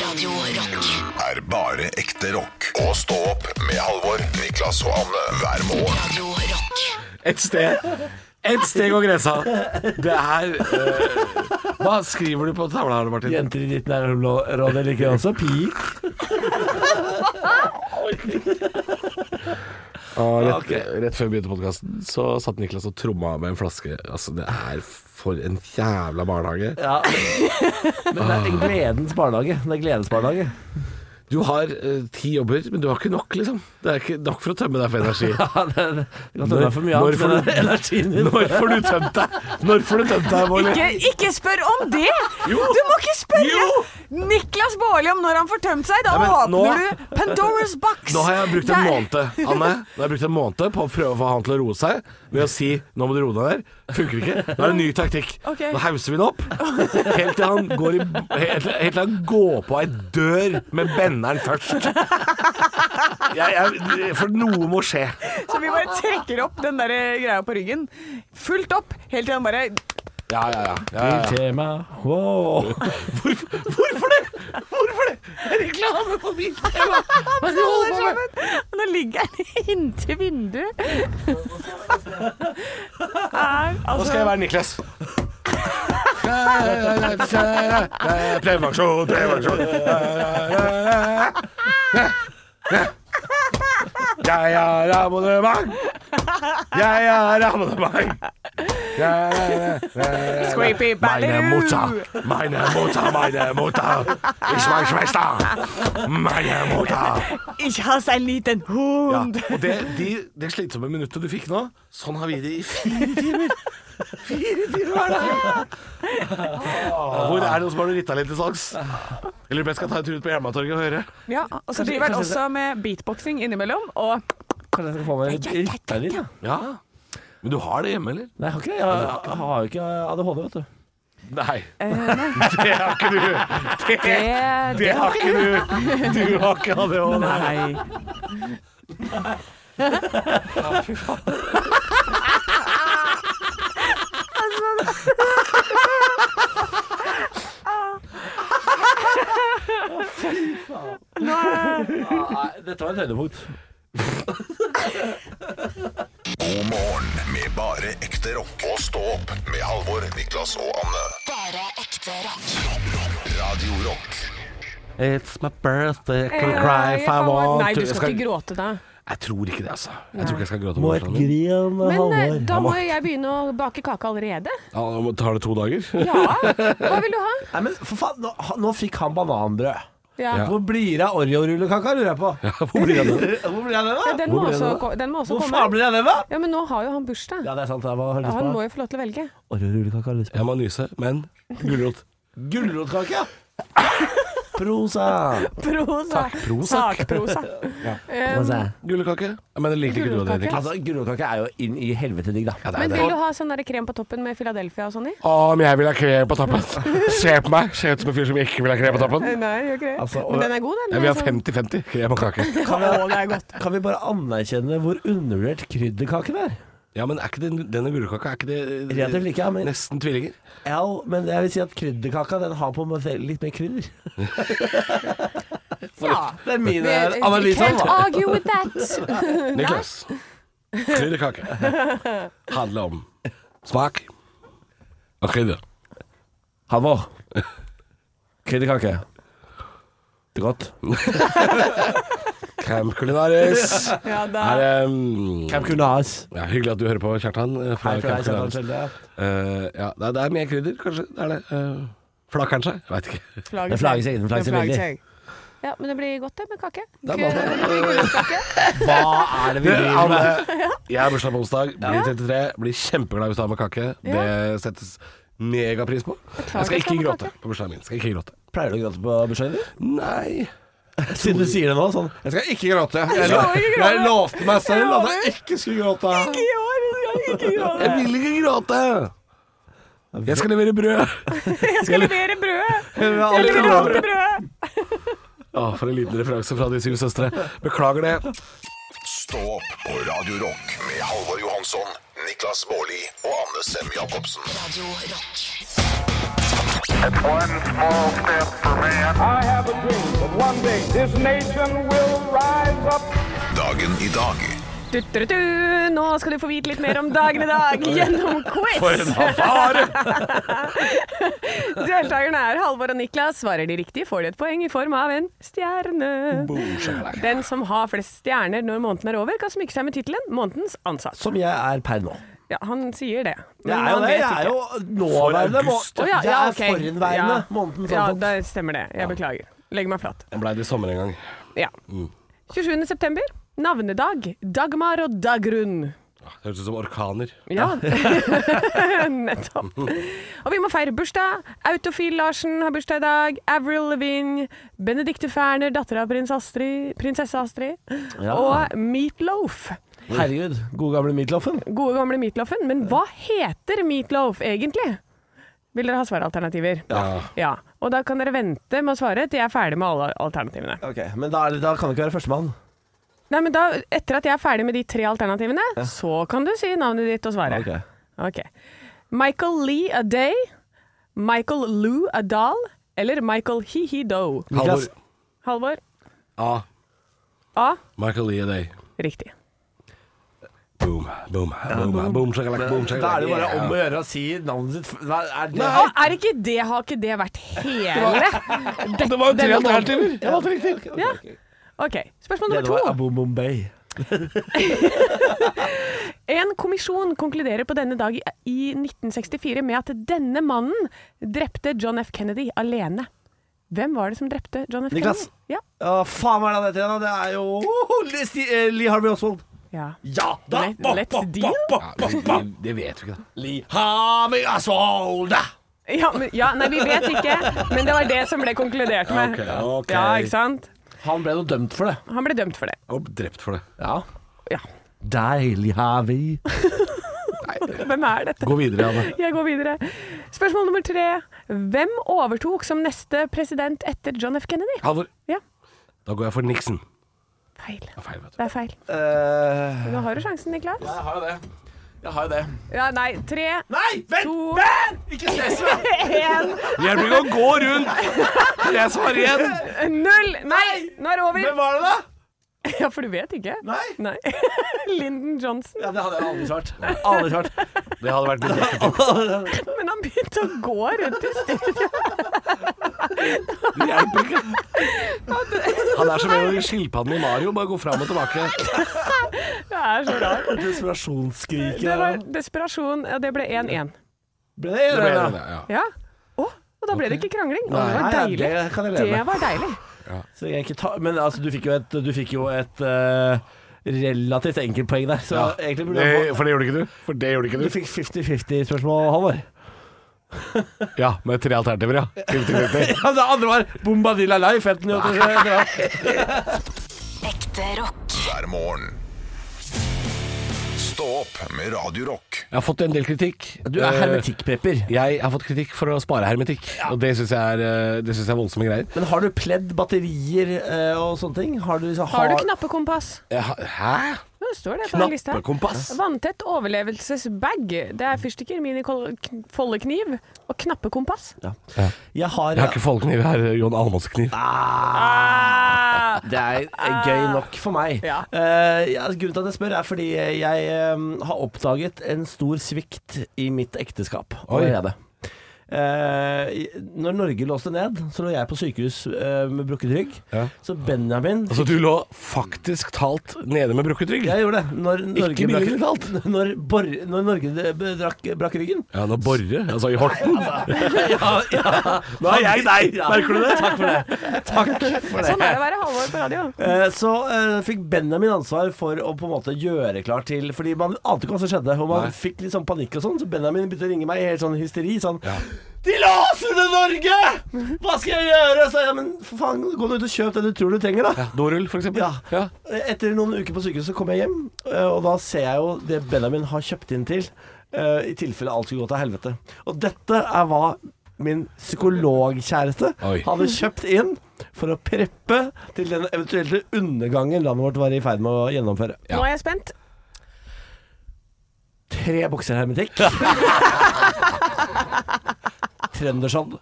Radio Rock. er bare ekte rock. Og stå opp med Halvor, Niklas og Anne hver morgen. Radio Rock. Et sted Et sted går grensa Det er eh, Hva skriver du på tavla her, Martin? Jenter i ditt nærområde liker også pik. Og rett, Ok. rett før vi begynte podkasten, så satt Niklas og tromma med en flaske. Altså, det er for en jævla barnehage. Ja. Men det er en gledens barnehage. Det er gledesbarnehage. Du har eh, ti jobber, men du har ikke nok, liksom. Det er ikke nok for å tømme deg for energi. Ja, det, det kan ta Når- meg for mye når får annet, men du- det er energien din. Når får du tømt deg? Når får du tømt deg, Bårli? Ikke, ikke spør om det! Du må ikke spørre Niklas Baarli om når han får tømt seg. Da Nei, men nå- åpner du Pandoras box. Nå har jeg brukt en Der. måned, Anne. Nå har jeg brukt en måned på å prøve å få han til å roe seg ved å si 'nå må du roe deg der'. Funker ikke. Nå er det en ny taktikk. Ok. Nå hauser vi det opp helt til han går, i, helt, helt til han går på ei dør med benderen først. Jeg, jeg, for noe må skje. Så vi bare trekker opp den der eh, greia på ryggen. Fullt opp, helt til han bare Ja, ja, ja. ja, ja, ja. Til tema. Wow. Hvorfor, hvorfor det? Hvorfor det? Reklame på biltema! Hva er det du holder faller på med? sammen. Og Nå ligger han inntil vinduet. Er, Nå skal jeg altså, være Niklas. Prevensjon, prevensjon. Jeg har abonnement. Jeg har abonnement. Scrapey Meine Mutter, Ballerud. meine Mutter, meine Mutter. Ich meine Schwester. Meine Mutter. Ich hasse en liten Ja, hund. og det, de, det slitsomme minuttet du fikk nå, sånn har vi det i fire timer. Fire timer hver dag. Åh, Ah, Hvor er det noen som har noe Ritalin til salgs? Jeg lurer på om jeg skal ta en tur ut på Hjelmatorget og høre. Ja, og så driver han også med beatboxing innimellom. Og Kanskje jeg skal få meg rytta litt? da? Ja. Men du har det hjemme, eller? Nei, jeg har ikke det. Jeg- Jeg har jo ikke ADHD, vet du. Eh, Nei. Det har ikke du. det, Det har ikke du. Du har ikke ADHD. Nei. Nei, dette var et høydepunkt. God morgen med bare ekte rock. Og stå opp med Halvor, Niklas og Anne. Bare ekte rock. Radio Rock It's my birthday, I can Eh, cry if I want to. Nei, du Jeg skal ikke gråte da. Jeg tror ikke det, altså. Jeg tror ikke jeg skal gråte. om Må et bursdagen min. grin, Men eh, Halvor. da må jo jeg begynne å bake kake allerede. Ja, Tar det to dager? Ja. Hva vil du ha? Nei, men for faen, nå, nå fikk han bananbrød. Ja. Ja. Hvor blir det av Oreo-rullekaka, lurer jeg på? Hvor blir det av det? Hvor blir det av det, da? Den Hvor må, ble det også, da? ko- den må også Hvor faen komme. blir det av det, da? Ja, Men nå har jo han bursdag. Ja, det er sant. Jeg var Ja, han lyst på må jo få lov til å velge. Oreo-rullekaka. har jeg lyst på. Jeg må nyse, men gulrot. Gulrotkake, ja. Prosa. Prosa. Sakprosa. Gullkake? Men jeg liker ikke gulrot. Gulrotkake. Henrik. Altså, Gulrotkake er jo inn i helvete digg, da. Ja, det er Men det. vil du ha sånn der krem på toppen med Philadelphia og sånn i? Om jeg vil ha krem på toppen? Se på meg. Ser ut som en fyr som ikke vil ha krem på toppen. Nei, gjør ikke det. Altså, og- Men den er sånn- god, den. Jeg vil ha altså. 50-50 krem og kake. kan, vi, kan vi bare anerkjenne hvor undervurdert krydderkaken er? Ja, men er ikke den, denne gulrotkaka er ikke det Relativt like, ja, men, nesten tvillinger? ja, men jeg vil si at krydderkaka den har på en måte litt mer krydder. Ja. Det er min Det- analyse. Can't argue with that. Niklas. Krydderkake handler om smak og krydder. Halvor. Krydderkake. Det er godt. Camp Culinaris. Ja, da. Er, um, Camp Kunas. ja, hyggelig at du hører på, Kjartan. eh, fra Hei fra Camp deg, Kjartan Culinaris. Skjelde. Eh, ja, det er, det er mer krydder, kanskje. Det er det. Uh, Flakker den seg? Jeg veit ikke. Flagger Det flagger seg, den flagger seg veldig. Ja, men det blir godt det med kake. Det er bare- Hva er det vi driver med? Anne, jeg har bursdag på onsdag, blir 33, blir kjempeglad hvis du har med kake. Det settes megapris på. Jeg skal jeg skal ikke ha med gråte kake. på bursdagen min. Skal ikke gråte. Pleier du å gråte på bursdagen din? Nei. Siden du sier det nå, sånn. Jeg skal ikke gråte. Jeg, skal ikke gråte. jeg lovte meg selv at lover. jeg ikke skulle gråte. I år skal jeg ikke Jeg gråte. vil ikke gråte. Jeg skal levere brød. Jeg skal levere brødet. Jeg vil Jeg alltid leverer gråte. alltid brød. Å, for en liten referanse fra De syv søstre. Beklager det. Stå opp på Radio Rock med Halvor Johansson, Niklas Baarli og Anne Sem Jacobsen. Radio Rock. It's one small step for man. I have have a dream that one day this nation will rise up. Dagen i dag Du-du-du. Nå skal du få vite litt mer om dagen i dag gjennom quiz. Fare! Deltakerne er Halvor og Niklas. Svarer de riktig, får de et poeng i form av en stjerne. Den som har flest stjerner når måneden er over, kan smykke seg med tittelen 'Månedens ansatt'. Som jeg er per nå. Ja, han sier det. Jeg er jo han det. vet Jeg er ikke. jo nåværende. må- august, Å Jeg ja, er ok. forhenværende Ja. måneden. Ja, Sånn, sånn. det stemmer det. Jeg beklager. Legg meg flat. Den blei det samme en gang. Ja. 27. september. Navnedag. Dagmar og Det Dagrun. høres ut som orkaner. Ja. Nettopp. Og vi må feire bursdag. Autofil Larsen har bursdag i dag. Avril Lavigne. Benedicte Ferner, datter av prins Astrid, prinsesse Astrid. Ja. Og Meatloaf. Herregud, gode gamle Meatloffen. Gode gamle Meatloafen. Men hva heter Meatloaf egentlig? Vil dere ha svaralternativer? Ja. ja. Og da kan dere vente med å svare til jeg er ferdig med alle alternativene. Ok, Men da, er det- da kan det ikke være førstemann. Nei, men da, Etter at jeg er ferdig med de tre alternativene, så kan du si navnet ditt og svare. Ok. Ok. Michael Lee A Day, Michael Lou A Dahl eller Michael He He Do? Niklas. Halvor. Halvor? A. A. Michael Lee Day. Riktig. Boom, boom, boom, boom, shakalaka, boom, shakalaka. Da er det jo bare om å gjøre å si navnet sitt f- Nei, er det, Å, er ikke det, har ikke det vært hele Det, Det var jo tre denne måneden? alternativer! Det var riktig. Ok, Spørsmål det var nummer to. Abu Bombay. En kommisjon konkluderer på denne dag i i 1964 med at denne mannen drepte John F. Kennedy alene. Hvem var det som drepte John F. Niklas. Kennedy? Ja. Å, faen, hva er det han heter igjen? da? Det er jo Åh, Lee- Sti- eh, Lee Harvey Oswald. ja. Ja da! Let- let's deal. Ja, det- det- Det vet vi ikke, da. Lee Harvey Oswald! Ja, men, ja, nei, vi vet ikke, men det var det som ble konkludert med. Ok, ok. Ja, ikke sant? Han ble nå dømt for det. Han ble dømt for det. Og drept for det. Ja. Ja. Deilig Harvey. Hvem er dette? Gå videre, Anne. Jeg går videre. Spørsmål nummer tre. Hvem overtok som neste president etter John F. Kennedy? Halvor. Ja. Da går jeg for Nixon. Feil. Det er feil, vet du. Det er feil. Eh, Nå har du sjansen, Niklas. jeg har jo det. Jeg har jo det. Ja, nei. Tre, Nei, vent! To. vent! Ikke stress meg! én, Det hjelper ikke å gå rundt! Jeg svarer igjen. null! Nei, nå er det Hvem over. var det, da? Ja, for du vet ikke? Nei. Nei. Lyndon Johnson. Ja, Det hadde jeg aldri svart. Aldri svart. Det hadde vært litt riktig. Men han begynte å gå rundt i studio. Det hjelper ikke. Han er som en av de skilpaddene i Mario, bare går fram og tilbake. Det er så rart. Desperasjonsskriket. Det var desperasjon. Ja, det ble 1-1. Ble det Det ble det? det, ja. Ja. Å, og da ble det ikke krangling. Å, det var Nei, deilig. det kan jeg Det leve med. var deilig. Så jeg ikke ta, men altså, du fikk jo et, du fikk jo et eh, relativt enkelt poeng der, så egentlig burde Det, jeg få for det gjorde ikke du? For det gjorde ikke Du fikk 50-50-spørsmål, Halvor. Ja, med tre alternativer, ja. 50-50. Ja, det andre var Bombadilla Life. Enten, du- Ekte rock. hver morgen. Stå opp med Radio Rock. Jeg har fått en del kritikk. du er hermetikkprepper. Eh, Jeg har fått kritikk for å spare hermetikk, og det syns jeg, er, eh, det synes jeg er voldsomme greier. Men har du pledd batterier eh, og sånne ting? Har du, liksom- Har du knappekompass? Jeg har- Hæ? Ja, Det står det på den lista. her. Knappekompass? Vanntett overlevelsesbag. Det er fyrstikker, minifoldekniv og knappekompass. Jeg har, Jeg har ikke foldekniv her, Jon Almås-kniv. Ah, Det er eh, gøy nok for meg. Ja. Eh, ja, grunnen til at jeg spør, er fordi jeg eh, har oppdaget en stor svikt i mitt ekteskap Oi. allerede. Eh, i- når Norge låste ned, så lå jeg på sykehus eh, med brukket rygg. Ja. Så Benjamin Altså, du lå faktisk talt nede med brukket rygg. Jeg gjorde det. Når Norge, billig brakk, når bor, når Norge eh, brakk, brakk ryggen. Ja, nå borre. Altså, i Horten. Ja, ja. Nå er jeg deg, merker du det? Takk for det. Takk for det. sånn er det å være Halvor på radio. Eh, Så eh, fikk Benjamin ansvar for å på en måte gjøre klar til Fordi man ante ikke hva som skjedde, og man Nei. fikk litt sånn panikk og sånn. Så Benjamin begynte å ringe meg i helt sånn hysteri. Sånn Ja. De låser ned Norge! Hva skal jeg gjøre? Så jeg, ja, men for faen, gå nå ut og kjøp det du tror du trenger, da. Dorull, for eksempel. Ja. Etter noen uker på sykehuset kom jeg hjem, eh, og da ser jeg jo det Benjamin har kjøpt inn til. eh, I tilfelle alt skulle gå til helvete. Og dette er hva min psykologkjæreste Oi. hadde kjøpt inn for å preppe til den eventuelle undergangen landet vårt var i ferd med å gjennomføre. Ja. Nå er jeg spent. Tre bokser hermetikk. Trøndersodd.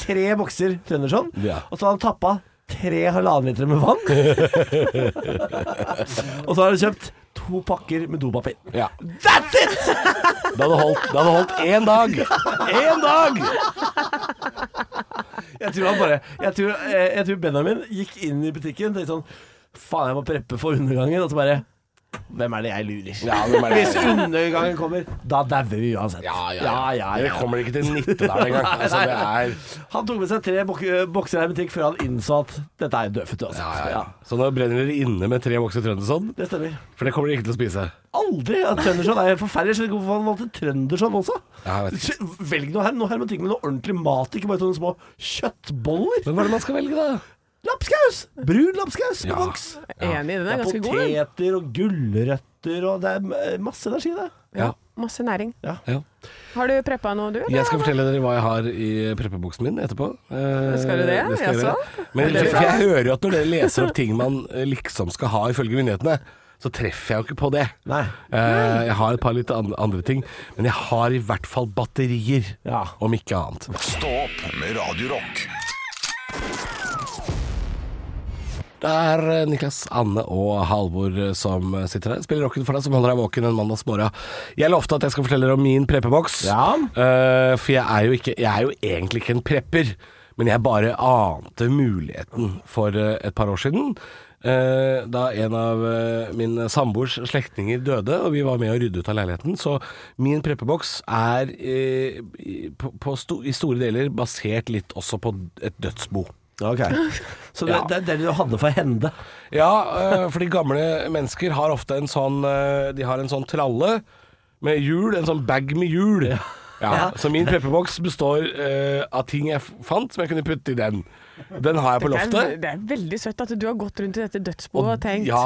tre bokser Trønderson, Ja. og så har han tappa tre halvannen liter med vann. og så har han kjøpt to pakker med dopapir. Ja. That's it! Det hadde holdt, det hadde holdt én dag. Én dag! Jeg tror, han bare, jeg, tror, eh, jeg tror Benjamin gikk inn i butikken og tenkte sånn Faen, jeg må preppe for undergangen. Og så bare Hvem er det jeg lurer? Ja, hvem er det? Hvis undergangen kommer, da dauer vi uansett. Ja, ja, ja. ja, ja, Dere ja. kommer ikke til Nittedal engang. Altså, det er Han tok med seg tre bok eh, bokser her i butikk før han innså at dette er jo dødfødt uansett. ja, ja, ja. Så nå brenner dere inne med tre bokser Trønderson, Det stemmer. for det kommer dere ikke til å spise. Aldri! At Trønderson er helt forferdelig. Jeg skjønner ikke hvorfor han valgte Trønderson også. Ja, jeg vet Velg noe her, noe hermetikk med noe ordentlig mat, ikke bare sånne små kjøttboller. Men hva er det man skal velge, da? Lapskaus! Brun lapskaus med Ja. voks. Enig, den Det er er ganske god. Den. poteter og gulrøtter og det er eh, masse energi, det. Ja. Masse næring. Ja. Har du preppa noe, du? eller? Jeg skal fortelle dere hva jeg har i preppebuksen min etterpå. Eh, Skal du det? skal jeg Jaså? gjøre. Men jeg, for jeg hører jo at når dere leser opp ting man eh, liksom skal ha ifølge myndighetene, så treffer jeg jo ikke på det. Nei. Eh, jeg har et par litt an andre ting, men jeg har i hvert fall batterier, Ja. om ikke annet. Stå opp med Radio Rock. Det er eh, Niklas, Anne og Halvor eh, som eh, sitter her. Spiller rocken for deg som holder deg våken en mandagsmorgen. Jeg lovte at jeg skal fortelle dere om min preppeboks. Ja. Eh, for jeg er, jo ikke, jeg er jo egentlig ikke en prepper, men jeg bare ante muligheten for eh, et par år siden. eh, da en av eh, min samboers slektninger døde, og vi var med å rydde ut av leiligheten. Så min preppeboks er eh, i- på, på sto, i store deler basert litt også på et dødsbo. Ok. Så det, Ja. det er det du hadde for hende. Ja, øh, fordi gamle mennesker har ofte en sånn øh, De har en sånn tralle med hjul, en sånn bag med hjul. Ja. Så min pepperboks består øh, av ting jeg f- fant som jeg kunne putte i den. Den har jeg på Det er, loftet. det er veldig søtt at du har gått rundt i dette dødsboet og tenkt Ja,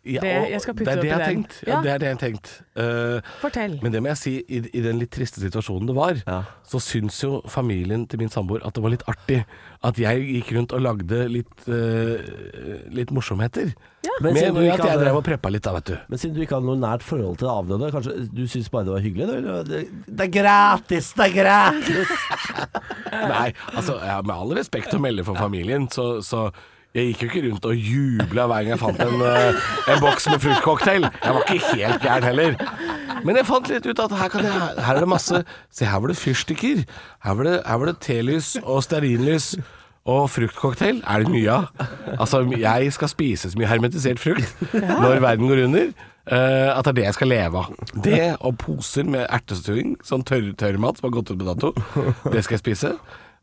ja, Det- og jeg skal putte det er det oppi jeg har den. tenkt. Ja, Ja. det er det jeg har tenkt. Eh, Fortell. men det må jeg si, i, i den litt triste situasjonen det var, Ja. så syns jo familien til min samboer at det var litt artig at jeg gikk rundt og lagde litt, eh, litt morsomheter. Men Med siden du med ikke at jeg hadde- drev og preppa litt da, vet du. Men siden du ikke hadde noe nært forhold til det avdøde, kanskje du syns bare det var hyggelig? du, eller? Det, det er gratis! Det er gratis! Nei, altså ja, med all respekt å melde for familien, så, så jeg gikk jo ikke rundt og jubla hver gang jeg fant en, eh, en boks med fruktcocktail. Jeg var ikke helt gæren heller. Men jeg fant litt ut at her, kan jeg, her er det masse Se, her var det fyrstikker. Her var det, her var det telys og stearinlys. Og fruktcocktail er det mye av. Altså, jeg skal spise så mye hermetisert frukt når verden går under, eh, at det er det jeg skal leve av. Det og poser med ertestuing, sånn tørr, tørrmat som har gått ut på dato, det skal jeg spise.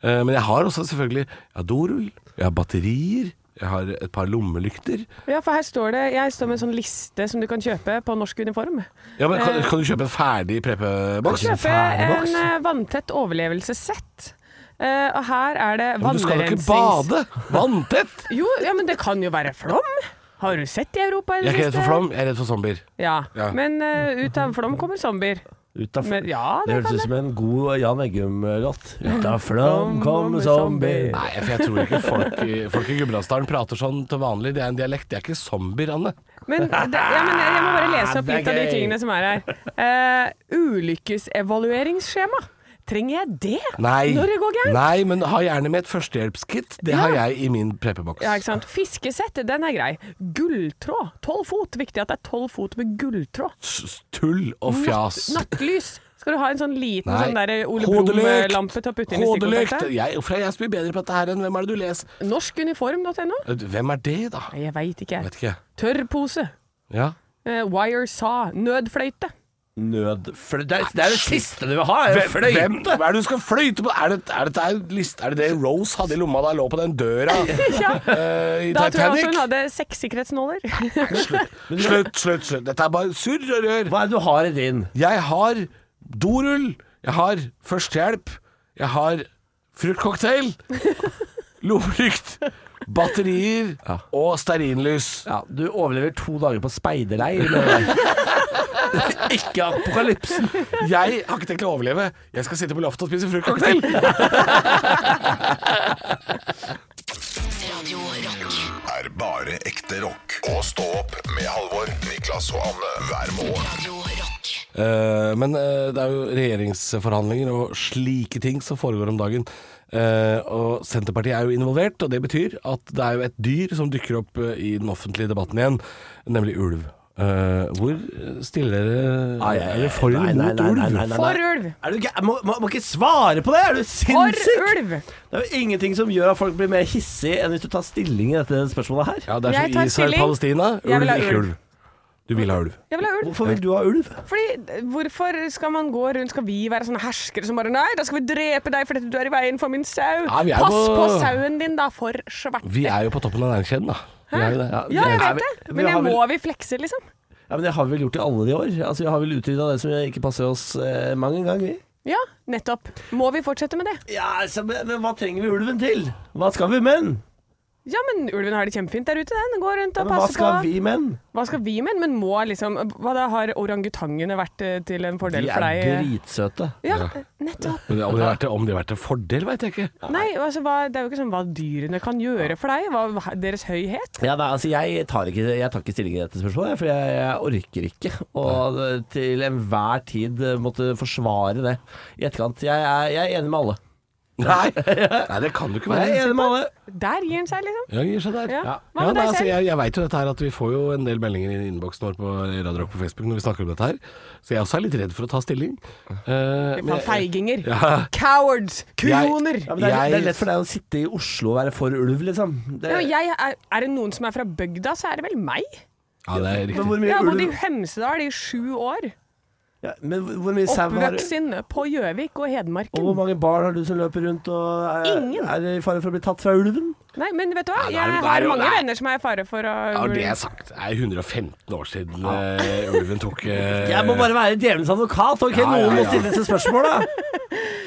Eh, men jeg har også selvfølgelig Jeg har dorull, jeg har batterier, jeg har et par lommelykter. Ja, for her står det Jeg står med en sånn liste som du kan kjøpe på norsk uniform. Ja, men Kan, kan du kjøpe en ferdig prepeboks? Kjøpe Ferdigboks? en eh, vanntett overlevelsessett. Eh, og her er det Men du skal jo ikke bade! Vanntett! Jo, ja, men det kan jo være flom. Har du sett i Europa i Jeg det er ikke redd for flom, jeg er redd for zombier. Ja. Ja. Men eh, ut av flom kommer zombier. Ut av, Men ja, det det kan hørtes ut som en god Jan Eggum-låt. Ut av flom kommer zombie. Nei, for jeg tror ikke folk i, folk i Gudbrandsdalen prater sånn til vanlig. Det er en dialekt. Det er ikke zombier, Anne. Men, det, ja, men eh, jeg må bare lese opp Det er litt av de gøy. tingene som er her. Eh, ulykkesevalueringsskjema. Trenger jeg det Nei. når det går gærent? Nei, men ha gjerne med et førstehjelpskit. Det har jeg i min prepeboks. Ja, ikke sant? Fiskesett, den er grei. Gulltråd, tolv fot. Viktig at det er tolv fot med gulltråd. S- Tull og fjas. Nattlys. Skal du ha en sånn liten Nei. sånn der Ole Hodelykt! Brumm-lampe til å putte inn i Hodelykt! stikkontaktet? Jeg, hvorfor er jeg så mye bedre på dette her enn hvem er det du leser? Norskuniform.no? Hvem er det, da? Nei, Jeg veit ikke. Jeg jeg. vet ikke. Tørrpose. Ja. Eh, wire saw. Nødfløyte. Nødfløyte det, er- det er det siste du vil ha! er Hvem, fløyte. hvem, hva er det du skal fløyte på? Er det er det, der list, er det det Rose hadde i lomma da hun lå på den døra Ja. eh, i Da tror jeg også hun Titanic? hadde sexsikkerhetsnåler. Slutt, slutt, slutt. Dette er bare surr og rør. Hva er det du har i din? Jeg har dorull, jeg har førstehjelp, jeg har fruktcocktail, lommelykt, batterier og stearinlys. Ja, du overlever to dager på speiderleir. med det der. Ikke apokalypsen. Jeg har ikke tenkt å overleve. Jeg skal sitte på loftet og spise fruktcocktail. Radio Rock. Er bare ekte rock. Og stå opp med Halvor, Niklas og Anne hver morgen. Radio Rock. Eh, men eh, det er jo regjeringsforhandlinger og slike ting som foregår om dagen. Eh, og Senterpartiet er jo involvert, og det betyr at det er jo et dyr som dukker opp eh, i den offentlige debatten igjen, nemlig ulv. Eh, hvor stiller dere Nei, Er dere for eller mot ulv? For ulv. Er du gæ- må, må, må ikke svare på det! Er du sinnssyk? For ulv! Det er jo ingenting som gjør at folk blir mer hissige enn hvis du tar stilling i dette spørsmålet her. Ja, det er Jeg tar som stilling. Israel-Palestina. Jeg vil Ulv, ha ikke ulv. ulv. Du vil ha ulv. Jeg vil ha ulv. Hvorfor vil du ha ulv? Fordi, eh, hvorfor skal man gå rundt Skal vi være sånne herskere som bare Nei, da skal vi drepe deg fordi du er i veien for min sau. Ja, vi er Pass på- på... sauen din, da, for svarte. Vi er jo på toppen av næringskjeden, da. Vi er jo det. Ja, jeg er vet vi- det. vi Men har jeg vel- må vi flekse, liksom? Ja, men Det har vi vel gjort i alle de år. Altså, Vi har vel utrydda det som ikke passer oss eh, mange ganger. vi. Ja, nettopp. Må vi fortsette med det? Ja, altså, men, men hva trenger vi ulven til? Hva skal vi menn? Ja, men ulven har det kjempefint der ute, den. Går rundt Ja, og men hva passer skal på. vi menn? Hva skal vi med? Men må liksom Hva da har orangutangene vært eh, til en De fordel for er deg? eh. dritsøte. Ja, eh, nettopp. Men om det har vært, om det har vært en fordel, veit jeg ikke. Nei, altså, hva, det er jo ikke sånn hva dyrene kan gjøre for deg. Hva, hva- deres høyhet. Ja, nei, altså jeg tar, ikke, jeg tar ikke stilling i dette spørsmålet, jeg, for jeg, jeg orker ikke å det- til enhver tid eh, måtte forsvare det i etterkant. Jeg er, jeg er enig med alle. Nei. Nei, det kan du ikke Jeg være. er enig med alle. Der gir den seg, liksom. Ja, gir seg der. Ja. Ja. Hva nei, med deg altså, selv? jeg, jeg vet jo dette her at vi får jo en del meldinger i innboksen vår på Radio Rock på Facebook når vi snakker om dette her, så jeg også er litt redd for å ta stilling. Eh, men Faen, jeg- feiginger. Ja. Cowards. Kujoner. Ja, men det, er, Jeg- det er lett for deg å sitte i Oslo og være for ulv, liksom. Det, Ja, men jeg er, er det noen som er fra bygda, så er det vel meg. ja, det er men riktig. hvor Jeg mye har bodd i ulv Hemsedal i sju år. ja, Men hvor- hvor mye sau har du? Oppvokst inne på Gjøvik og Og hvor Hedmarken. mange barn har du som løper rundt og er, Ingen. er i fare for å bli tatt fra ulven? Nei, men vet du hva? Nei, det er- Jeg det er har jo- mange nei. venner som er i fare for å Ja, det er sagt. Det er 115 år siden eh, ulven tok eh, Jeg må bare være djevelens advokat, Ja, ok? ja, Noen må ja. stille seg spørsmål, da.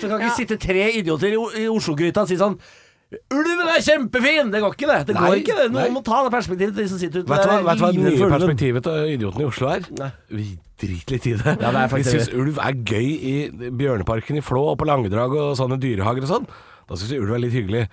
Så kan ikke sitte tre idioter i, O- i Oslo-gryta og si sånn Ulven er kjempefin! Det går ikke, det. Det Nei, går ikke, det. Noen nei. må ta det perspektivet til de som sitter ute Vet du hva, der og vet du hva det livredde nye for ulven. perspektivet til idiotene i Oslo er? Nei. Vi driter litt i det. Ja, det er vi faktisk syns det. ulv er gøy i Bjørneparken i Flå og på Langedrag og sånne dyrehager og sånn. Da syns vi ulv er litt hyggelig.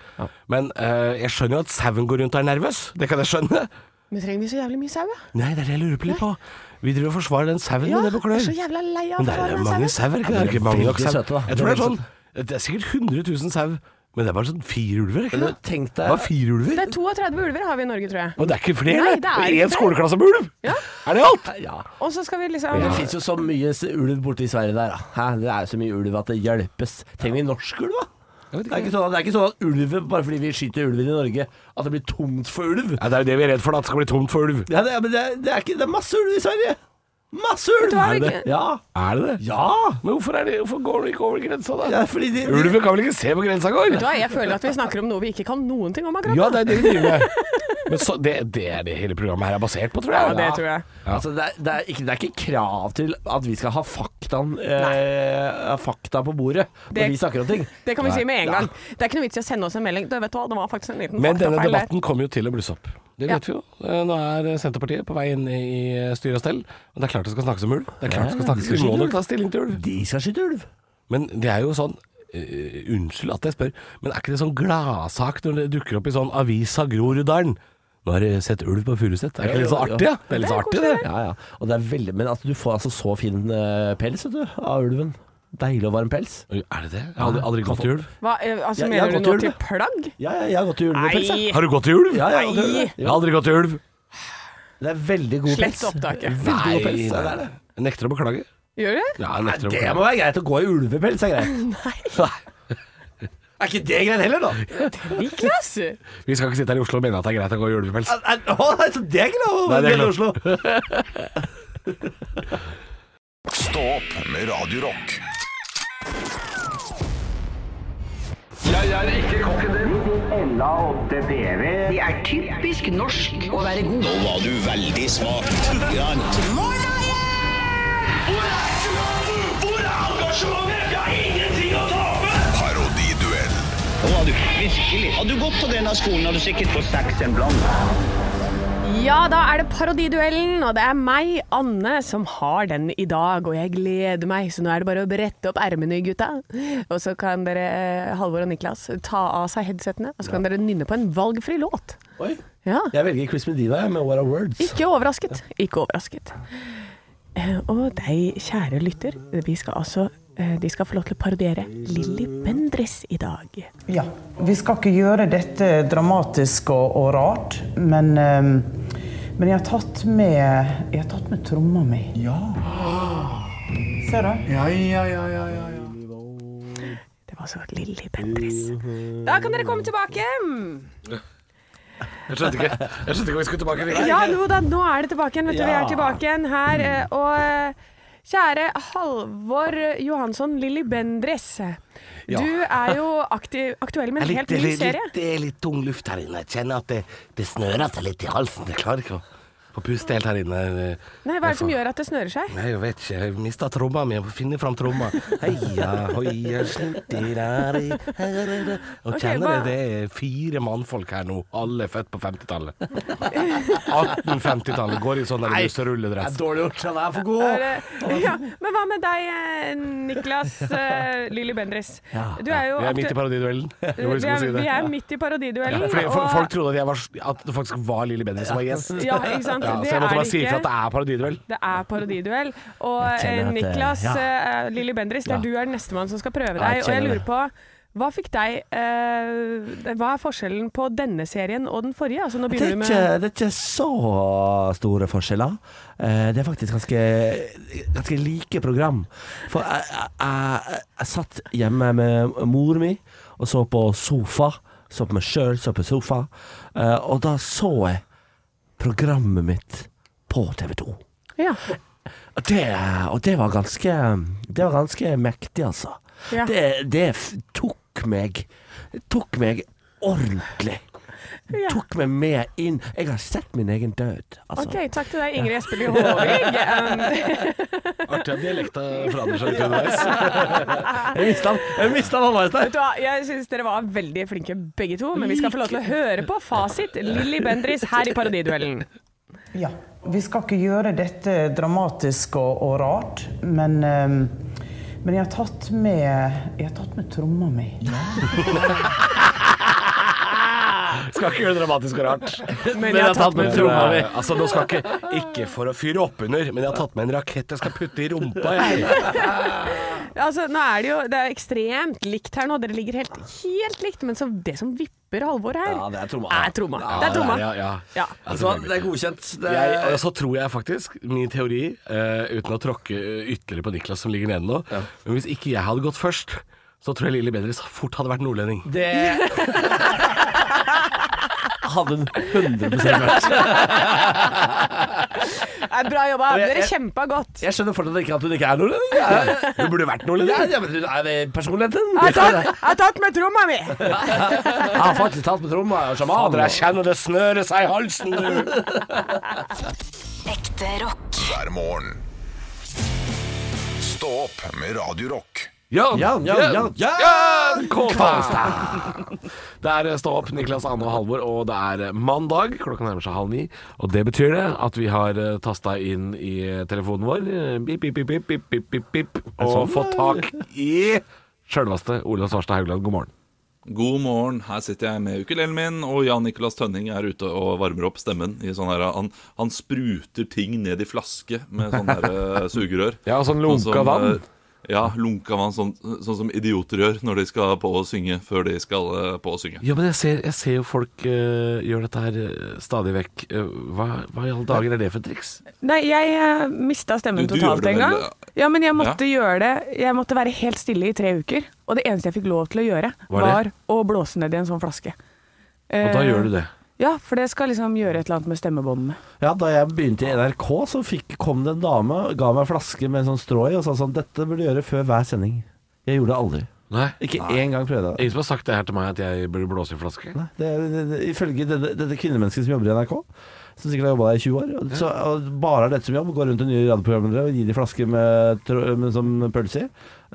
Men eh, jeg skjønner jo at sauen går rundt og er nervøs. Det kan jeg skjønne. Men trenger vi så jævlig mye sau, da? Nei, det er det jeg lurer på litt på. Vi driver og forsvarer den sauen Ja, med jeg nebb og klør. er så jævla lei av Men det er det å være er mange sau. sauer. Det er ikke mange nok veldig sau. søte, da. Jeg tror det er sånn Veldig Det er sikkert 100 000 sau, men det er bare sånn fire ulver, ikke Men det? Tenk Det var deg fire Det ulver. er 32 ulver har vi i Norge, tror jeg. Og det er ikke flere? Nei, det er én ikke det. skoleklasse med ulv! Er det alt? ja. Og så skal vi liksom Det fins jo så mye s- ulv borte i Sverige der, da. Hæ? Det er jo så mye ulv at det hjelpes. Trenger vi norsk ulv, da? Det er, ikke sånn at, det er ikke sånn at ulven, bare fordi vi skyter ulven i Norge, at det blir tomt for ulv. Ja, det er jo det vi er redd for, da. At det skal bli tomt for ulv. Ja, det, er- men det, er- det, er ikke, det er masse ulv i Sverige! Masse ulv! hva, vi- Ja. Er det det? ja. Men hvorfor, er det, hvorfor går du ikke over grensa, da? ja fordi de, de, Ulven kan vel ikke se hvor grensa går? Vet du hva, jeg føler at vi snakker om noe vi ikke kan noen ting om akkurat. Ja, det er det vi driver med. Men så, det, det er det hele programmet her er basert på, tror jeg. Ja, det tror jeg. Altså, det, er, det, er ikke, det er ikke krav til at vi skal ha faktaen, eh, fakta på bordet når Det- vi snakker om ting. Det kan vi si med en gang. Det er ikke noe vits i å sende oss en melding. Du vet hva, det var faktisk en liten Men denne faktafeil der. debatten kommer jo til å blusse opp. Det vet vi jo. Eh, Nå er Senterpartiet på vei inn i eh, styr og stell. Og det er klart det skal snakkes om ulv. Det er klart det skal snakkes Ja, ja, Vi må det nok ta stilling til ulv. De skal skyte ulv. Men det er jo sånn eh, Unnskyld at jeg spør, men er ikke det sånn gladsak når det dukker opp i sånn avisa Groruddalen? Nå har jeg sett ulv på Furuset. Er ikke det litt så Ja, ja, ja. artig, da? Det er litt så artig, det. Ja, ja. Og det er veldig, men altså, du får altså så fin eh, pels vet du, av ulven. Deilig og varm pels. Oi, Er det det? Jeg har aldri, aldri gått i ulv. Hva, eh, Jeg- altså, jeg mener har du gått nå i til ulv. plagg? Ja, ja, jeg har gått i ulvepels. jeg. Nei, Har du gått i ulv? Ja, ja, jeg har gått i Nei. ulv. Jeg har aldri gått i ulv. Det er veldig god Slett pels. opptaket. Veldig god pels. Ja, det er det. Jeg nekter å beklage. gjør du? Ja, jeg nekter å Det beklage. må være greit å gå i ulvepels, er greit. Er ikke det greit heller, da? Niklas! Vi skal ikke sitte her i Oslo og mene at det er greit å gå i ulvepels. Er, er, å, nei, så det er ikke lov å Nei, det er være i ikke Oslo. Stå opp med Radio Rock. Jeg er ikke kokken din. Ella 8TV. Det er typisk norsk å være god. Nå var du veldig smak. Tugger han. Hvor er engasjementet? Hvor er engasjementet? Jeg har ingenting å tape! Parodiduell. Nå var du virkelig. Hadde du gått til denne skolen, hadde du sikkert fått seks en blant. Ja, da er det parodiduellen, og det er meg, Anne, som har den i dag. Og jeg gleder meg, så nå er det bare å brette opp ermene, gutta. Og så kan dere, eh, Halvor og Niklas, ta av seg headsettene, og så kan dere nynne på en valgfri låt. Oi, Ja. jeg velger Chris Medina jeg, med What Are Words. Ikke overrasket. Ikke overrasket. Eh, Og deg, kjære lytter, vi skal altså Eh, De skal få lov til å parodiere Lilly Bendriss i dag. Ja, vi skal ikke gjøre dette dramatisk og, og rart, men, ehm, men jeg har tatt med, jeg har tatt med tromma mi. Ja. Ser du? Ja, ja, ja, ja, ja. Det var altså Lilly Bendriss. Mhm. Da kan dere komme tilbake. Jeg skjønte ikke Jeg skjønte ikke om vi skulle tilbake. eller ikke. Ja, nå, da, nå er det tilbake igjen. Vet du, Vi Ja. Mm. er tilbake igjen her. eh, Og eh, kjære Halvor Johansson, Lilly Bendriss. Ja. Du er jo aktiv, aktuell med Jeg litt- en helt ny det er serie. litt- Det er litt tung luft her inne. Jeg kjenner at det, det snører seg litt i halsen. Jeg klarer ikke å få puste helt her inne. Nei, Hva er det som gjør at det snører seg? Nei, jeg vet ikke. Jeg mista tromma mi. Jeg må finne fram tromma. Heia, hoia, slintirari. Og Ok, kjenner hva- jeg det er fire mannfolk her nå. Alle er født på 50-tallet. 1850-tallet. Går i sånn der Nei, russerulledress. det er dårlig gjort. Den er for god. Er det- Ja, men hva med deg, eh, Niklas eh, Lilly Bendriss? Du er jo Vi er midt i aktu- parodiduellen. Jeg må vi liksom er, si det. vi er midt i parodiduellen. Ja, fordi og- fo- Folk trodde at, jeg var, at det faktisk var Lilly Bendriss som var gjest. Ja, ikke sant? Ja, Det så jeg måtte er bare det si ikke. ifra at det er parodiduell. Det er parodiduell. Og Jeg kjenner at eh, det- Niklas, ja. eh, Lilly Bendriss, det Ja. er du er nestemann som skal prøve Ja, jeg deg. Og jeg kjenner lurer det. på hva fikk deg eh, Hva er forskjellen på denne serien og den forrige? Altså, nå Det er, ikke, begynner du med det er ikke så store forskjeller. Eh, Det er faktisk ganske, ganske like program. For jeg, jeg, jeg, jeg satt hjemme med mor mi og så på sofa. Så på meg sjøl, så på sofa. Eh, Og da så jeg programmet mitt på TV 2. Ja. Og det, og det var ganske Det var ganske mektig, altså. Ja. Det, det f- tok meg Tok meg ordentlig. Tok meg med inn. Jeg har sett min egen død, altså. OK, takk til deg, Ingrid Espelid Håvig. Um, Artig at dialekta forandrer seg litt underveis. Jeg mista den Jeg mistet den halvveis Vet du hva, jeg syns dere var veldig flinke begge to, men vi skal få lov til å høre på fasit. Lilly Bendriss her i Parodiduellen. Ja, vi skal ikke gjøre dette dramatisk og, og rart, men, ehm, men jeg har tatt med, jeg har tatt med tromma mi. Skal ikke gjøre det dramatisk og rart. Men jeg har tatt med tromma mi. Altså, nå skal ikke, ikke for å fyre opp under, men jeg har tatt med en rakett jeg skal putte i rumpa. Jeg. Altså, nå er det jo det er ekstremt likt her nå. Dere ligger helt, helt likt, men så, det som vipper Halvor her det er tromma. Er tromma. Ja, det er tromma. ja, ja. Ja. selvfølgelig. er godkjent. Jeg, og så tror jeg faktisk, min teori, eh, uten å tråkke eh, ytterligere på Niklas som ligger nede nå Men hvis ikke jeg hadde gått først, så tror jeg Lilly Bendriss fort hadde vært nordlending. hadde den 100 vært. Ja, Bra jobba. Og jeg- Dere jeg- kjempa godt. Jeg skjønner fortsatt ikke at hun ikke er nordlending. Hun burde vært nordlending. Ja, men du er det personligheten? Jeg har tatt, jeg har tatt med tromma mi! Jeg har faktisk tatt med tromma og sjaman. Fader, jeg kjenner det snører seg i halsen, du. Ekte rock. hver morgen. Stå opp med Radio Rock. Jan, Jan, Jan, Jan, Jan Kålstad! Det er eh, Stå opp, Niklas Anne og Halvor, og det er eh, mandag. Klokka nærmer seg halv ni. Og det betyr det at vi har eh, tasta inn i telefonen vår eh, bip, bip, bip, bip, bip, bip, bip, bip, og sånn? fått tak i sjølveste Olav Svarstad Haugland. God morgen. God morgen, her sitter jeg med ukulelen min, og Jan Nicolas Tønning er ute og varmer opp stemmen. i sånn her, han, han spruter ting ned i flaske med sånn her eh, sugerør. Ja, sånn lunka som, vann. eh, Ja, lunka vann, sånn, sånn som idioter gjør når de skal på å synge før de skal eh, på å synge. Ja, men jeg ser, jeg ser jo folk eh, gjør dette her eh, stadig vekk. Eh, hva, hva i alle dager er det for et triks? Nei, jeg mista stemmen Du- du gjør totalt det en gang. vel, ja. Ja, men jeg måtte gjøre det. Jeg måtte være helt stille i tre uker. Og det eneste jeg fikk lov til å gjøre, Var var det? å blåse ned i en sånn flaske. Og da Eh, gjør du det. Ja, for det skal liksom gjøre et eller annet med stemmebåndene. Ja, da jeg begynte i NRK, så fikk, kom det en dame, ga meg en flaske med en sånn strå i, og sa sånn Dette burde du gjøre før hver sending. Jeg gjorde det aldri. Nei. Ikke én gang prøvde jeg det. Ingen som har sagt det her til meg, at jeg burde blåse i flaske? det, det, det ifølge dette, dette kvinnemennesket som jobber i NRK, som sikkert har jobba der i 20 år, og så, og bare har dette som jobb, går rundt til nye radioprogrammer og gir de flasker med, trå- med sånn pølse i.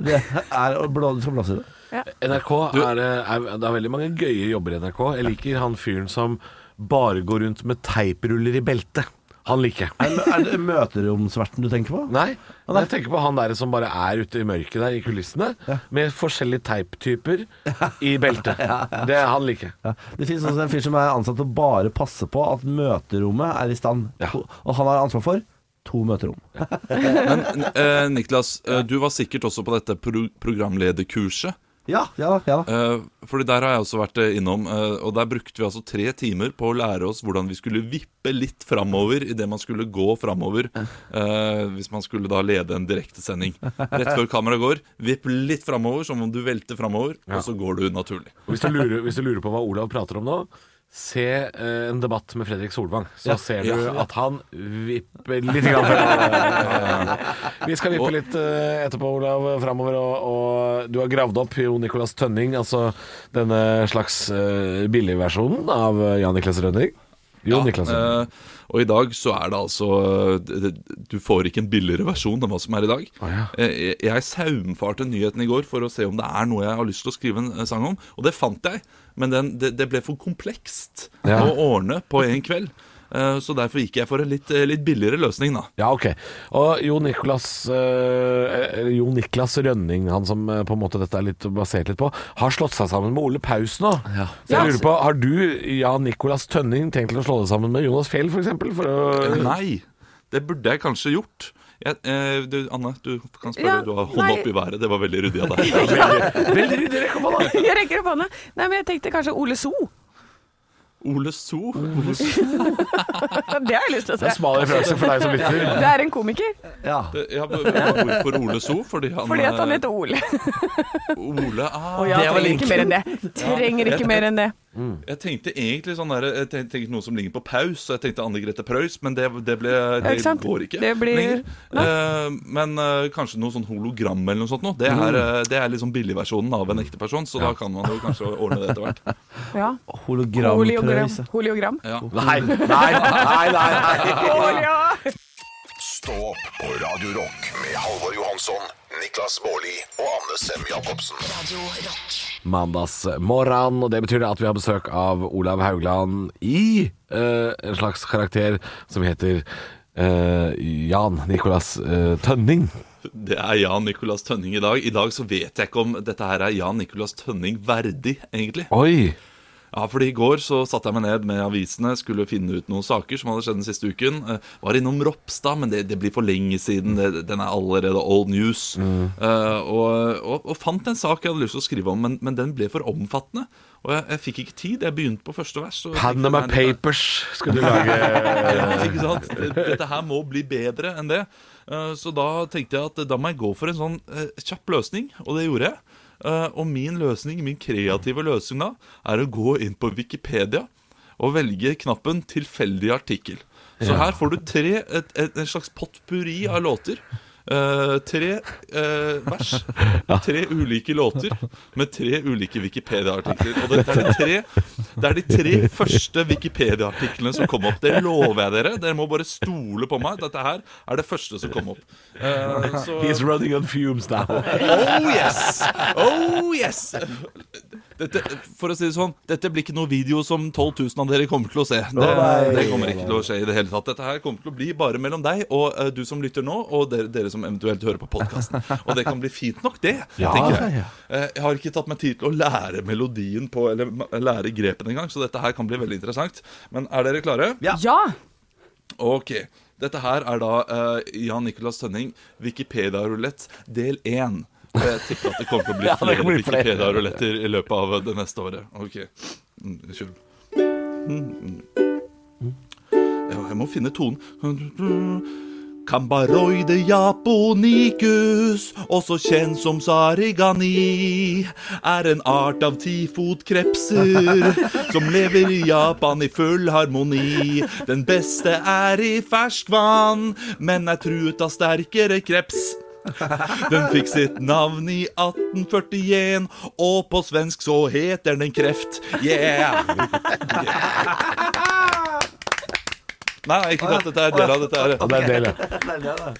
Det er å blå, Du skal blåse i det. NRK er, er, Det er veldig mange gøye jobber i NRK. Jeg liker han fyren som bare går rundt med teipruller i beltet. Han liker jeg. Er, er det møteromsverten du tenker på? Nei, jeg tenker på han der som bare er ute i mørket der i kulissene, med forskjellige teiptyper i beltet. Det er han liker jeg. Ja. Det finnes også en fyr som er ansatt til å bare passe på at møterommet er i stand. Og han har ansvar for to møterom. Men eh, Niklas, eh, du var sikkert også på dette pro programlederkurset. Ja, ja, ja. Eh, fordi der har jeg også vært eh, innom, eh, og der brukte vi altså tre timer på å lære oss hvordan vi skulle vippe litt framover idet man skulle gå framover. Eh, hvis man skulle da lede en direktesending. Rett før kameraet går, vipp litt framover som om du velter framover, Ja. og så går du naturlig. Og Hvis du, lurer, hvis du lurer på hva Olav prater om nå, se eh, en debatt med Fredrik Solvang. Så Ja. ser du Ja. at han vipper litt. Grann fremover. Vi skal vippe litt eh, etterpå, Olav, framover. Og, og du har gravd opp Jo Nicolas Tønning, altså denne slags eh, billigversjonen av eh, Jan Niklas Rønning. Jo Niklas Rønning. Eh, og i dag så er det altså eh, det- det- Du får ikke en billigere versjon enn hva som er i dag. Eh, jeg- Jeg saumfarte nyheten i går for å se om det er noe jeg har lyst til å skrive en eh, sang om, og det fant jeg. Men den, det, det ble for komplekst Ja. å ordne på en kveld. Eh, Så derfor gikk jeg for en litt, eh, litt billigere løsning, da. Ja, ok. Og Jo Niklas, eh, eller Jo Niklas Rønning, han som eh, på en måte dette er litt basert litt på, har slått seg sammen med Ole Paus nå. Så Ja. jeg lurer på, Har du, Jan Nikolas Tønning, tenkt til å slå deg sammen med Jonas Fjell, f.eks.? For Eh, å Nei, det burde jeg kanskje gjort. Jeg, eh, du, Anne, du kan spørre. Ja, du har nei. hånda opp i været. Det var veldig ryddig av deg. Veldig ryddig, rekk opp hånda! Jeg rekker opp hånda. Nei, men jeg tenkte kanskje Ole So. Ole So. det har jeg lyst til å se. Det er smal referanse for deg som lytter. Det er en komiker. Det- Ja, b- hvorfor Ole So? Fordi han, Fordi at han eh, heter Ole. Ole ah, Og jeg trenger ikke mer enn det. Trenger ikke mer enn det. Jeg tenkte egentlig sånn der, jeg tenkte, tenkte noe som ligner på Paus, så jeg tenkte Anne Grete Preus, men det, det, ble, det ikke sant? går ikke Det blir- lenger. Eh, men eh, kanskje noe sånn hologram eller noe sånt noe. Det er, Mm. eh, det er liksom billigversjonen av en ekte person, så da kan man jo kanskje ordne det etter hvert. Ja. Hologram Holiogram. Prøyse. Holiogram. Ja. Nei, nei, nei, Stå opp på Radio Rock med Halvor Johansson, Niklas Baarli og Anne Sem Jacobsen. Mandagsmorgen, og det betyr at vi har besøk av Olav Haugland i eh, en slags karakter som heter eh, Jan Nikolas eh, Tønning. Det er Jan Nicolas Tønning i dag. I dag så vet jeg ikke om dette her er Jan Nicolas Tønning verdig, egentlig. Oi! Ja, fordi I går så satte jeg meg ned med avisene, skulle finne ut noen saker som hadde skjedd den siste uken. Eh, Var innom Ropstad, men det, det blir for lenge siden. Det, den er allerede old news. Eh, og, og, og fant en sak jeg hadde lyst til å skrive om, men, men den ble for omfattende. Og jeg, jeg fikk ikke tid. Jeg begynte på første vers. og tenkte, Panama nei, dette- Papers skulle du lage. ja, ikke sant? Det- Dette her må bli bedre enn det. Eh, Så da tenkte jeg at da må jeg gå for en sånn eh, kjapp løsning, og det gjorde jeg. Eh, Og min løsning, min kreative løsning da, er å gå inn på Wikipedia og velge knappen 'tilfeldig artikkel'. Så Ja. her får du tre, et, et, en slags potpurri av låter. Eh, tre eh, vers, tre ulike låter med tre ulike Wikipedia-artikler. Og det, det, er de tre, det er de tre første Wikipedia-artiklene som kom opp. Det lover jeg dere. Dere må bare stole på meg. Dette her er det første som kom opp. Eh, så- He's running on fumes now. Oh yes! Oh yes! Dette, for å si det sånn, dette blir ikke noe video som 12 000 av dere kommer til å se. Det, nei. det kommer ikke til å skje i det hele tatt. Dette her kommer til å bli bare mellom deg og eh, du som lytter nå, og dere, dere som eventuelt hører på podkasten. Og det kan bli fint nok, det. Ja, tenker jeg. ja, ja. Eh, Jeg har ikke tatt meg tid til å lære melodien på, eller ma- lære grepen engang, så dette her kan bli veldig interessant. Men er dere klare? Ja. Ok, dette her er da eh, Jan Nicolas Tønning, Wikipedia-rulett del 1. Og jeg tipper at det kommer til å bli Ja, det flere kommer til å bli flere. Wikipedia-ruletter i løpet av det neste året. Ok, Mm, unnskyld. Mm, mm. Jeg jeg må finne tonen. Kambaroide japonicus, også kjent som sarigani, er en art av tifotkrebser som lever i Japan i full harmoni. Den beste er i ferskvann, men er truet av sterkere kreps. Den fikk sitt navn i 1841, og på svensk så heter den kreft. Yeah! Nei, nei, ikke dette. Dette er del av dette. her. Ja, det er en del, ja.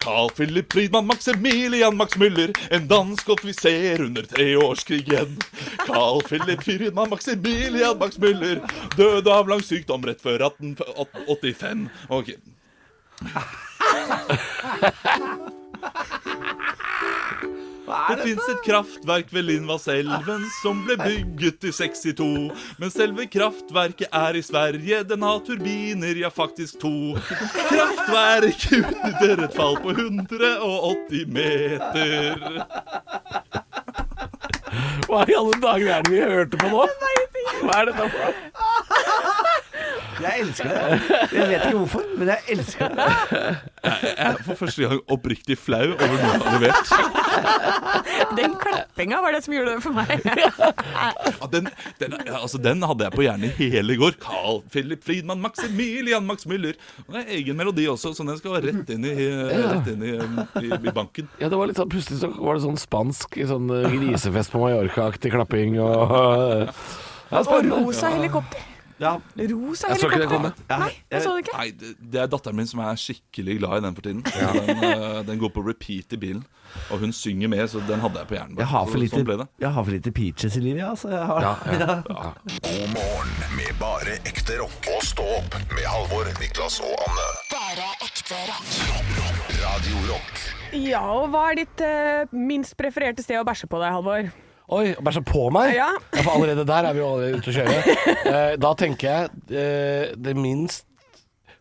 Carl Philip Friedmann Maximilian Max Müller, en dansk offiser under treårskrigen. Carl Philip Friedmann Maximilian Max Müller døde av lang sykdom rett før 1885. Ok. Det fins et kraftverk ved Lindvaselven som ble bygget i 62. Men selve kraftverket er i Sverige, den har turbiner, ja faktisk to. Kraftverket utnytter et fall på 180 meter. Hva i alle dager er det vi hørte på nå? Hva er dette for noe? Jeg elsker det. Jeg vet ikke hvorfor, men jeg elsker det. Jeg jeg er for første gang oppriktig flau over noe jeg har levert. Den klappinga var det som gjorde det for meg. Ja, den, den, ja, altså, den hadde jeg på hjernen hele i går. Carl Philip Friedmann, Maximilian Max Müller. Og Det er egen melodi også, så den skal være rett inn i, eh, rett inn i, eh, i, i banken. Ja, det var litt sånn, Plutselig så var det sånn spansk sånn eh, grisefest på Mallorca-aktig klapping og eh, det er Og spennende. rosa helikopter. Rosa Jeg så ikke det helikopter. komme. Nei, jeg så det ikke. Nei, det, det er datteren min som er skikkelig glad i den for tiden. Så Den, eh, den går på repeat i bilen, og hun synger med, så den hadde jeg på hjernen. Jeg har for Så- lite, sånn ble det. jeg har for lite peaches i livet, ja, altså. Jeg har, God morgen med bare ekte rock. Og stå opp med Halvor, Niklas og Anne. Bare ekte rock. Radio Rock. Ja, og hva er ditt eh, minst prefererte sted å bæsje på deg, Halvor? Oi, bæsja på meg? Ja. Ja, for allerede der er vi jo allerede ute å kjøre. Eh, da tenker jeg eh, det minst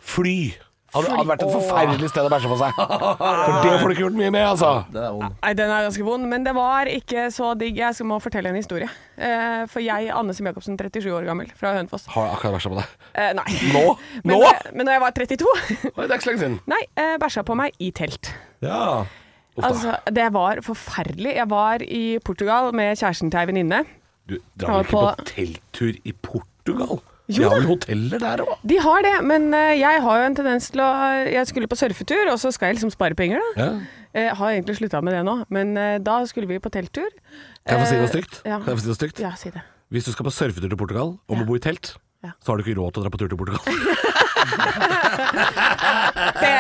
fly. Hadde, hadde vært et Fly. forferdelig sted å bæsje på seg. For det får du ikke gjort mye med, altså. Det er vondt. Nei, den er ganske vond, men det var ikke så digg. Jeg skal må fortelle en historie. Eh, for jeg, Anne Sem Jacobsen, 37 år gammel, fra Hønefoss Har jeg akkurat bæsja på deg? eh, Nei. Nå? Men, Nå? eh, men da jeg var 32 Oi, det er ikke så lenge siden. Nei, eh, bæsja på meg i telt. Ja. Altså, det var forferdelig. Jeg var i Portugal med kjæresten til ei venninne. Du Han drar var vel ikke på, på- telttur i Portugal? Jo de har da. vel hoteller der òg? De har det, men eh, jeg har jo en tendens til å eh, Jeg skulle på surfetur, og så skal jeg liksom spare penger, da. Ja. Eh, har egentlig slutta med det nå, men eh, da skulle vi på telttur. Kan jeg få si noe Eh, stygt? Ja. Kan jeg få si noe stygt? Ja, si det. Hvis du skal på surfetur til Portugal og må bo i telt, så har du ikke råd til å dra på tur til Portugal. Det,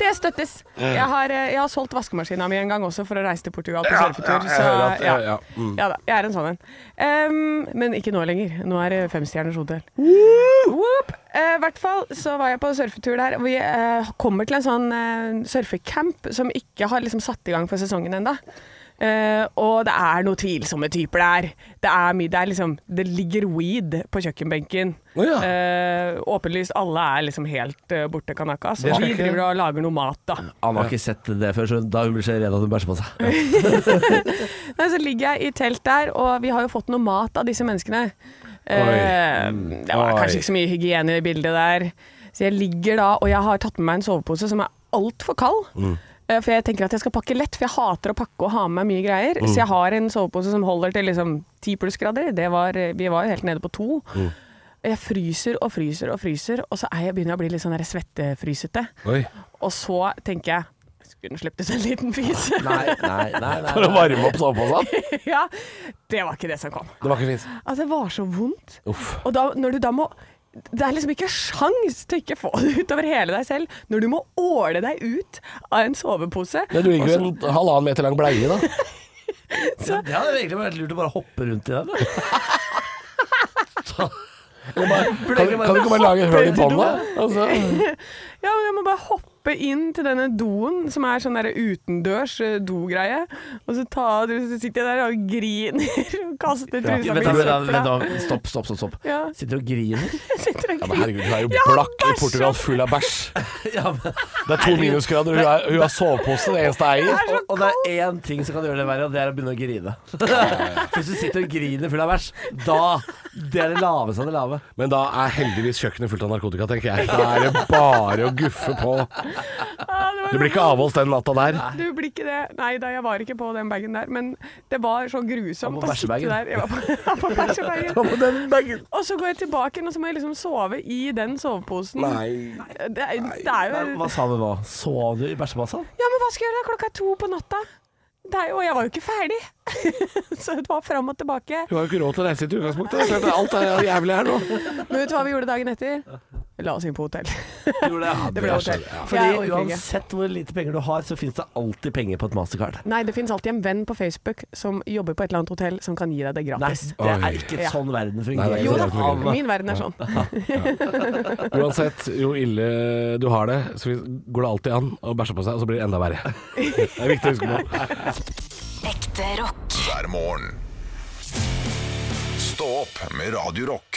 det støttes. Jeg har, eh, jeg har solgt vaskemaskina mi en gang også for å reise til Portugal på Ja, ja, surfetur. jeg Så hører at- ja. ja, ja, mm. ja da, jeg er en sånn en. Em, men ikke nå lenger. Nå er det femstjerners hotell. Whoop! Eh, I hvert fall så var jeg på surfetur der. Vi eh, kommer til en sånn eh, surfecamp som ikke har liksom satt i gang for sesongen ennå. og det er noen tvilsomme typer der. Det er mye, det er liksom Det ligger weed på kjøkkenbenken. Å ja. Eh, åpenlyst, alle er liksom helt eh, borte kanakka. Så Det skal vi ikke- driver og lager noe mat, da. Anne har ikke sett det før, så da hun blir så redd at hun bæsjer på seg. Nei, så ligger jeg i telt der, og vi har jo fått noe mat av disse menneskene. Eh, det var kanskje ikke så mye hygiene i bildet der. Så jeg ligger da, og jeg har tatt med meg en sovepose som er altfor kald. Mm. Eh, For jeg tenker at jeg skal pakke lett, for jeg hater å pakke og ha med meg mye greier. Mm. Så jeg har en sovepose som holder til liksom ti plussgrader. Det var, vi var jo helt nede på to. Mm. Jeg fryser og fryser og fryser, og så er jeg begynner jeg å bli litt sånn der svettefrysete. Oi. Og så tenker jeg skulle den sluppet ut en liten fys? Nei, nei, nei, nei. For å varme opp soveposen? ja. Det var ikke det som kom. Det var ikke fint. Altså, det var så vondt. Uff. Og da, når du da må det er liksom ikke sjans til ikke å få det utover hele deg selv, når du må åle deg ut av en sovepose. Ja, du ligger jo i og en halvannen meter lang bleie, da. Ja, det hadde egentlig vært lurt å bare hoppe rundt i den. Eller bare- Kan, kan du ikke bare lage et hull i båndet? Altså. ja, men jeg må bare hoppe inn til denne doen, som er sånn der utendørs eh, dogreie, og så, ta, så sitter jeg der og griner og kaster Ja. trusa Vent, da, i vent, da, søpla. vent, da. Stopp, stopp, stopp. stopp. Ja. Sitter og griner. Jeg sitter og Ja, men herregud, hun er jo Jeg har blakk i bæsjet. Portugal, full av bæsj. Ja, men- Det er to minusgrader, og hun har- hun har sovepose, det eneste jeg eier. Og, og det er én ting som kan gjøre det verre, og det er å begynne å grine. For Hvis du sitter og griner full av bæsj, da Det er det laveste av det lave. Men da er heldigvis kjøkkenet fullt av narkotika, tenker jeg. Da er det bare å guffe på. Det blir ikke avholds den natta der. Du blir ikke det. Nei da, jeg var ikke på den bagen der, men det var så grusomt på å sitte bæsjebagen. der. Jeg var på, jeg var på Du var på den bæsjebagen. Og så går jeg tilbake igjen, og så må jeg liksom sove i den soveposen. Nei. Det, er- det er Nei, jo Hva sa du nå? Sov du i bæsjebassa? Ja, men hva skal jeg gjøre da? Klokka er to på natta. Det er jo, og jeg var jo ikke ferdig. så det var fram og tilbake. Hun har jo ikke råd til å reise hit i utgangspunktet. så Alt er jo jævlig her nå. Men vet du hva vi gjorde dagen etter? La oss inn på hotell. det ble hotell. Jeg orker Fordi ikke. uansett hvor lite penger du har, så fins det alltid penger på et mastercard. Nei, det finnes alltid en venn på Facebook som jobber på et eller annet hotell som kan gi deg det gratis. Det er ikke Ja. sånn verden Nei, fungerer. det er Jo ikke da, sånn verden fungerer. min verden er sånn. Uansett, jo ille du har det, så går det alltid an å bæsje på seg, og så blir det enda verre. Det er viktig å huske på. Ekte rock. hver morgen. Stå opp med Radio Rock.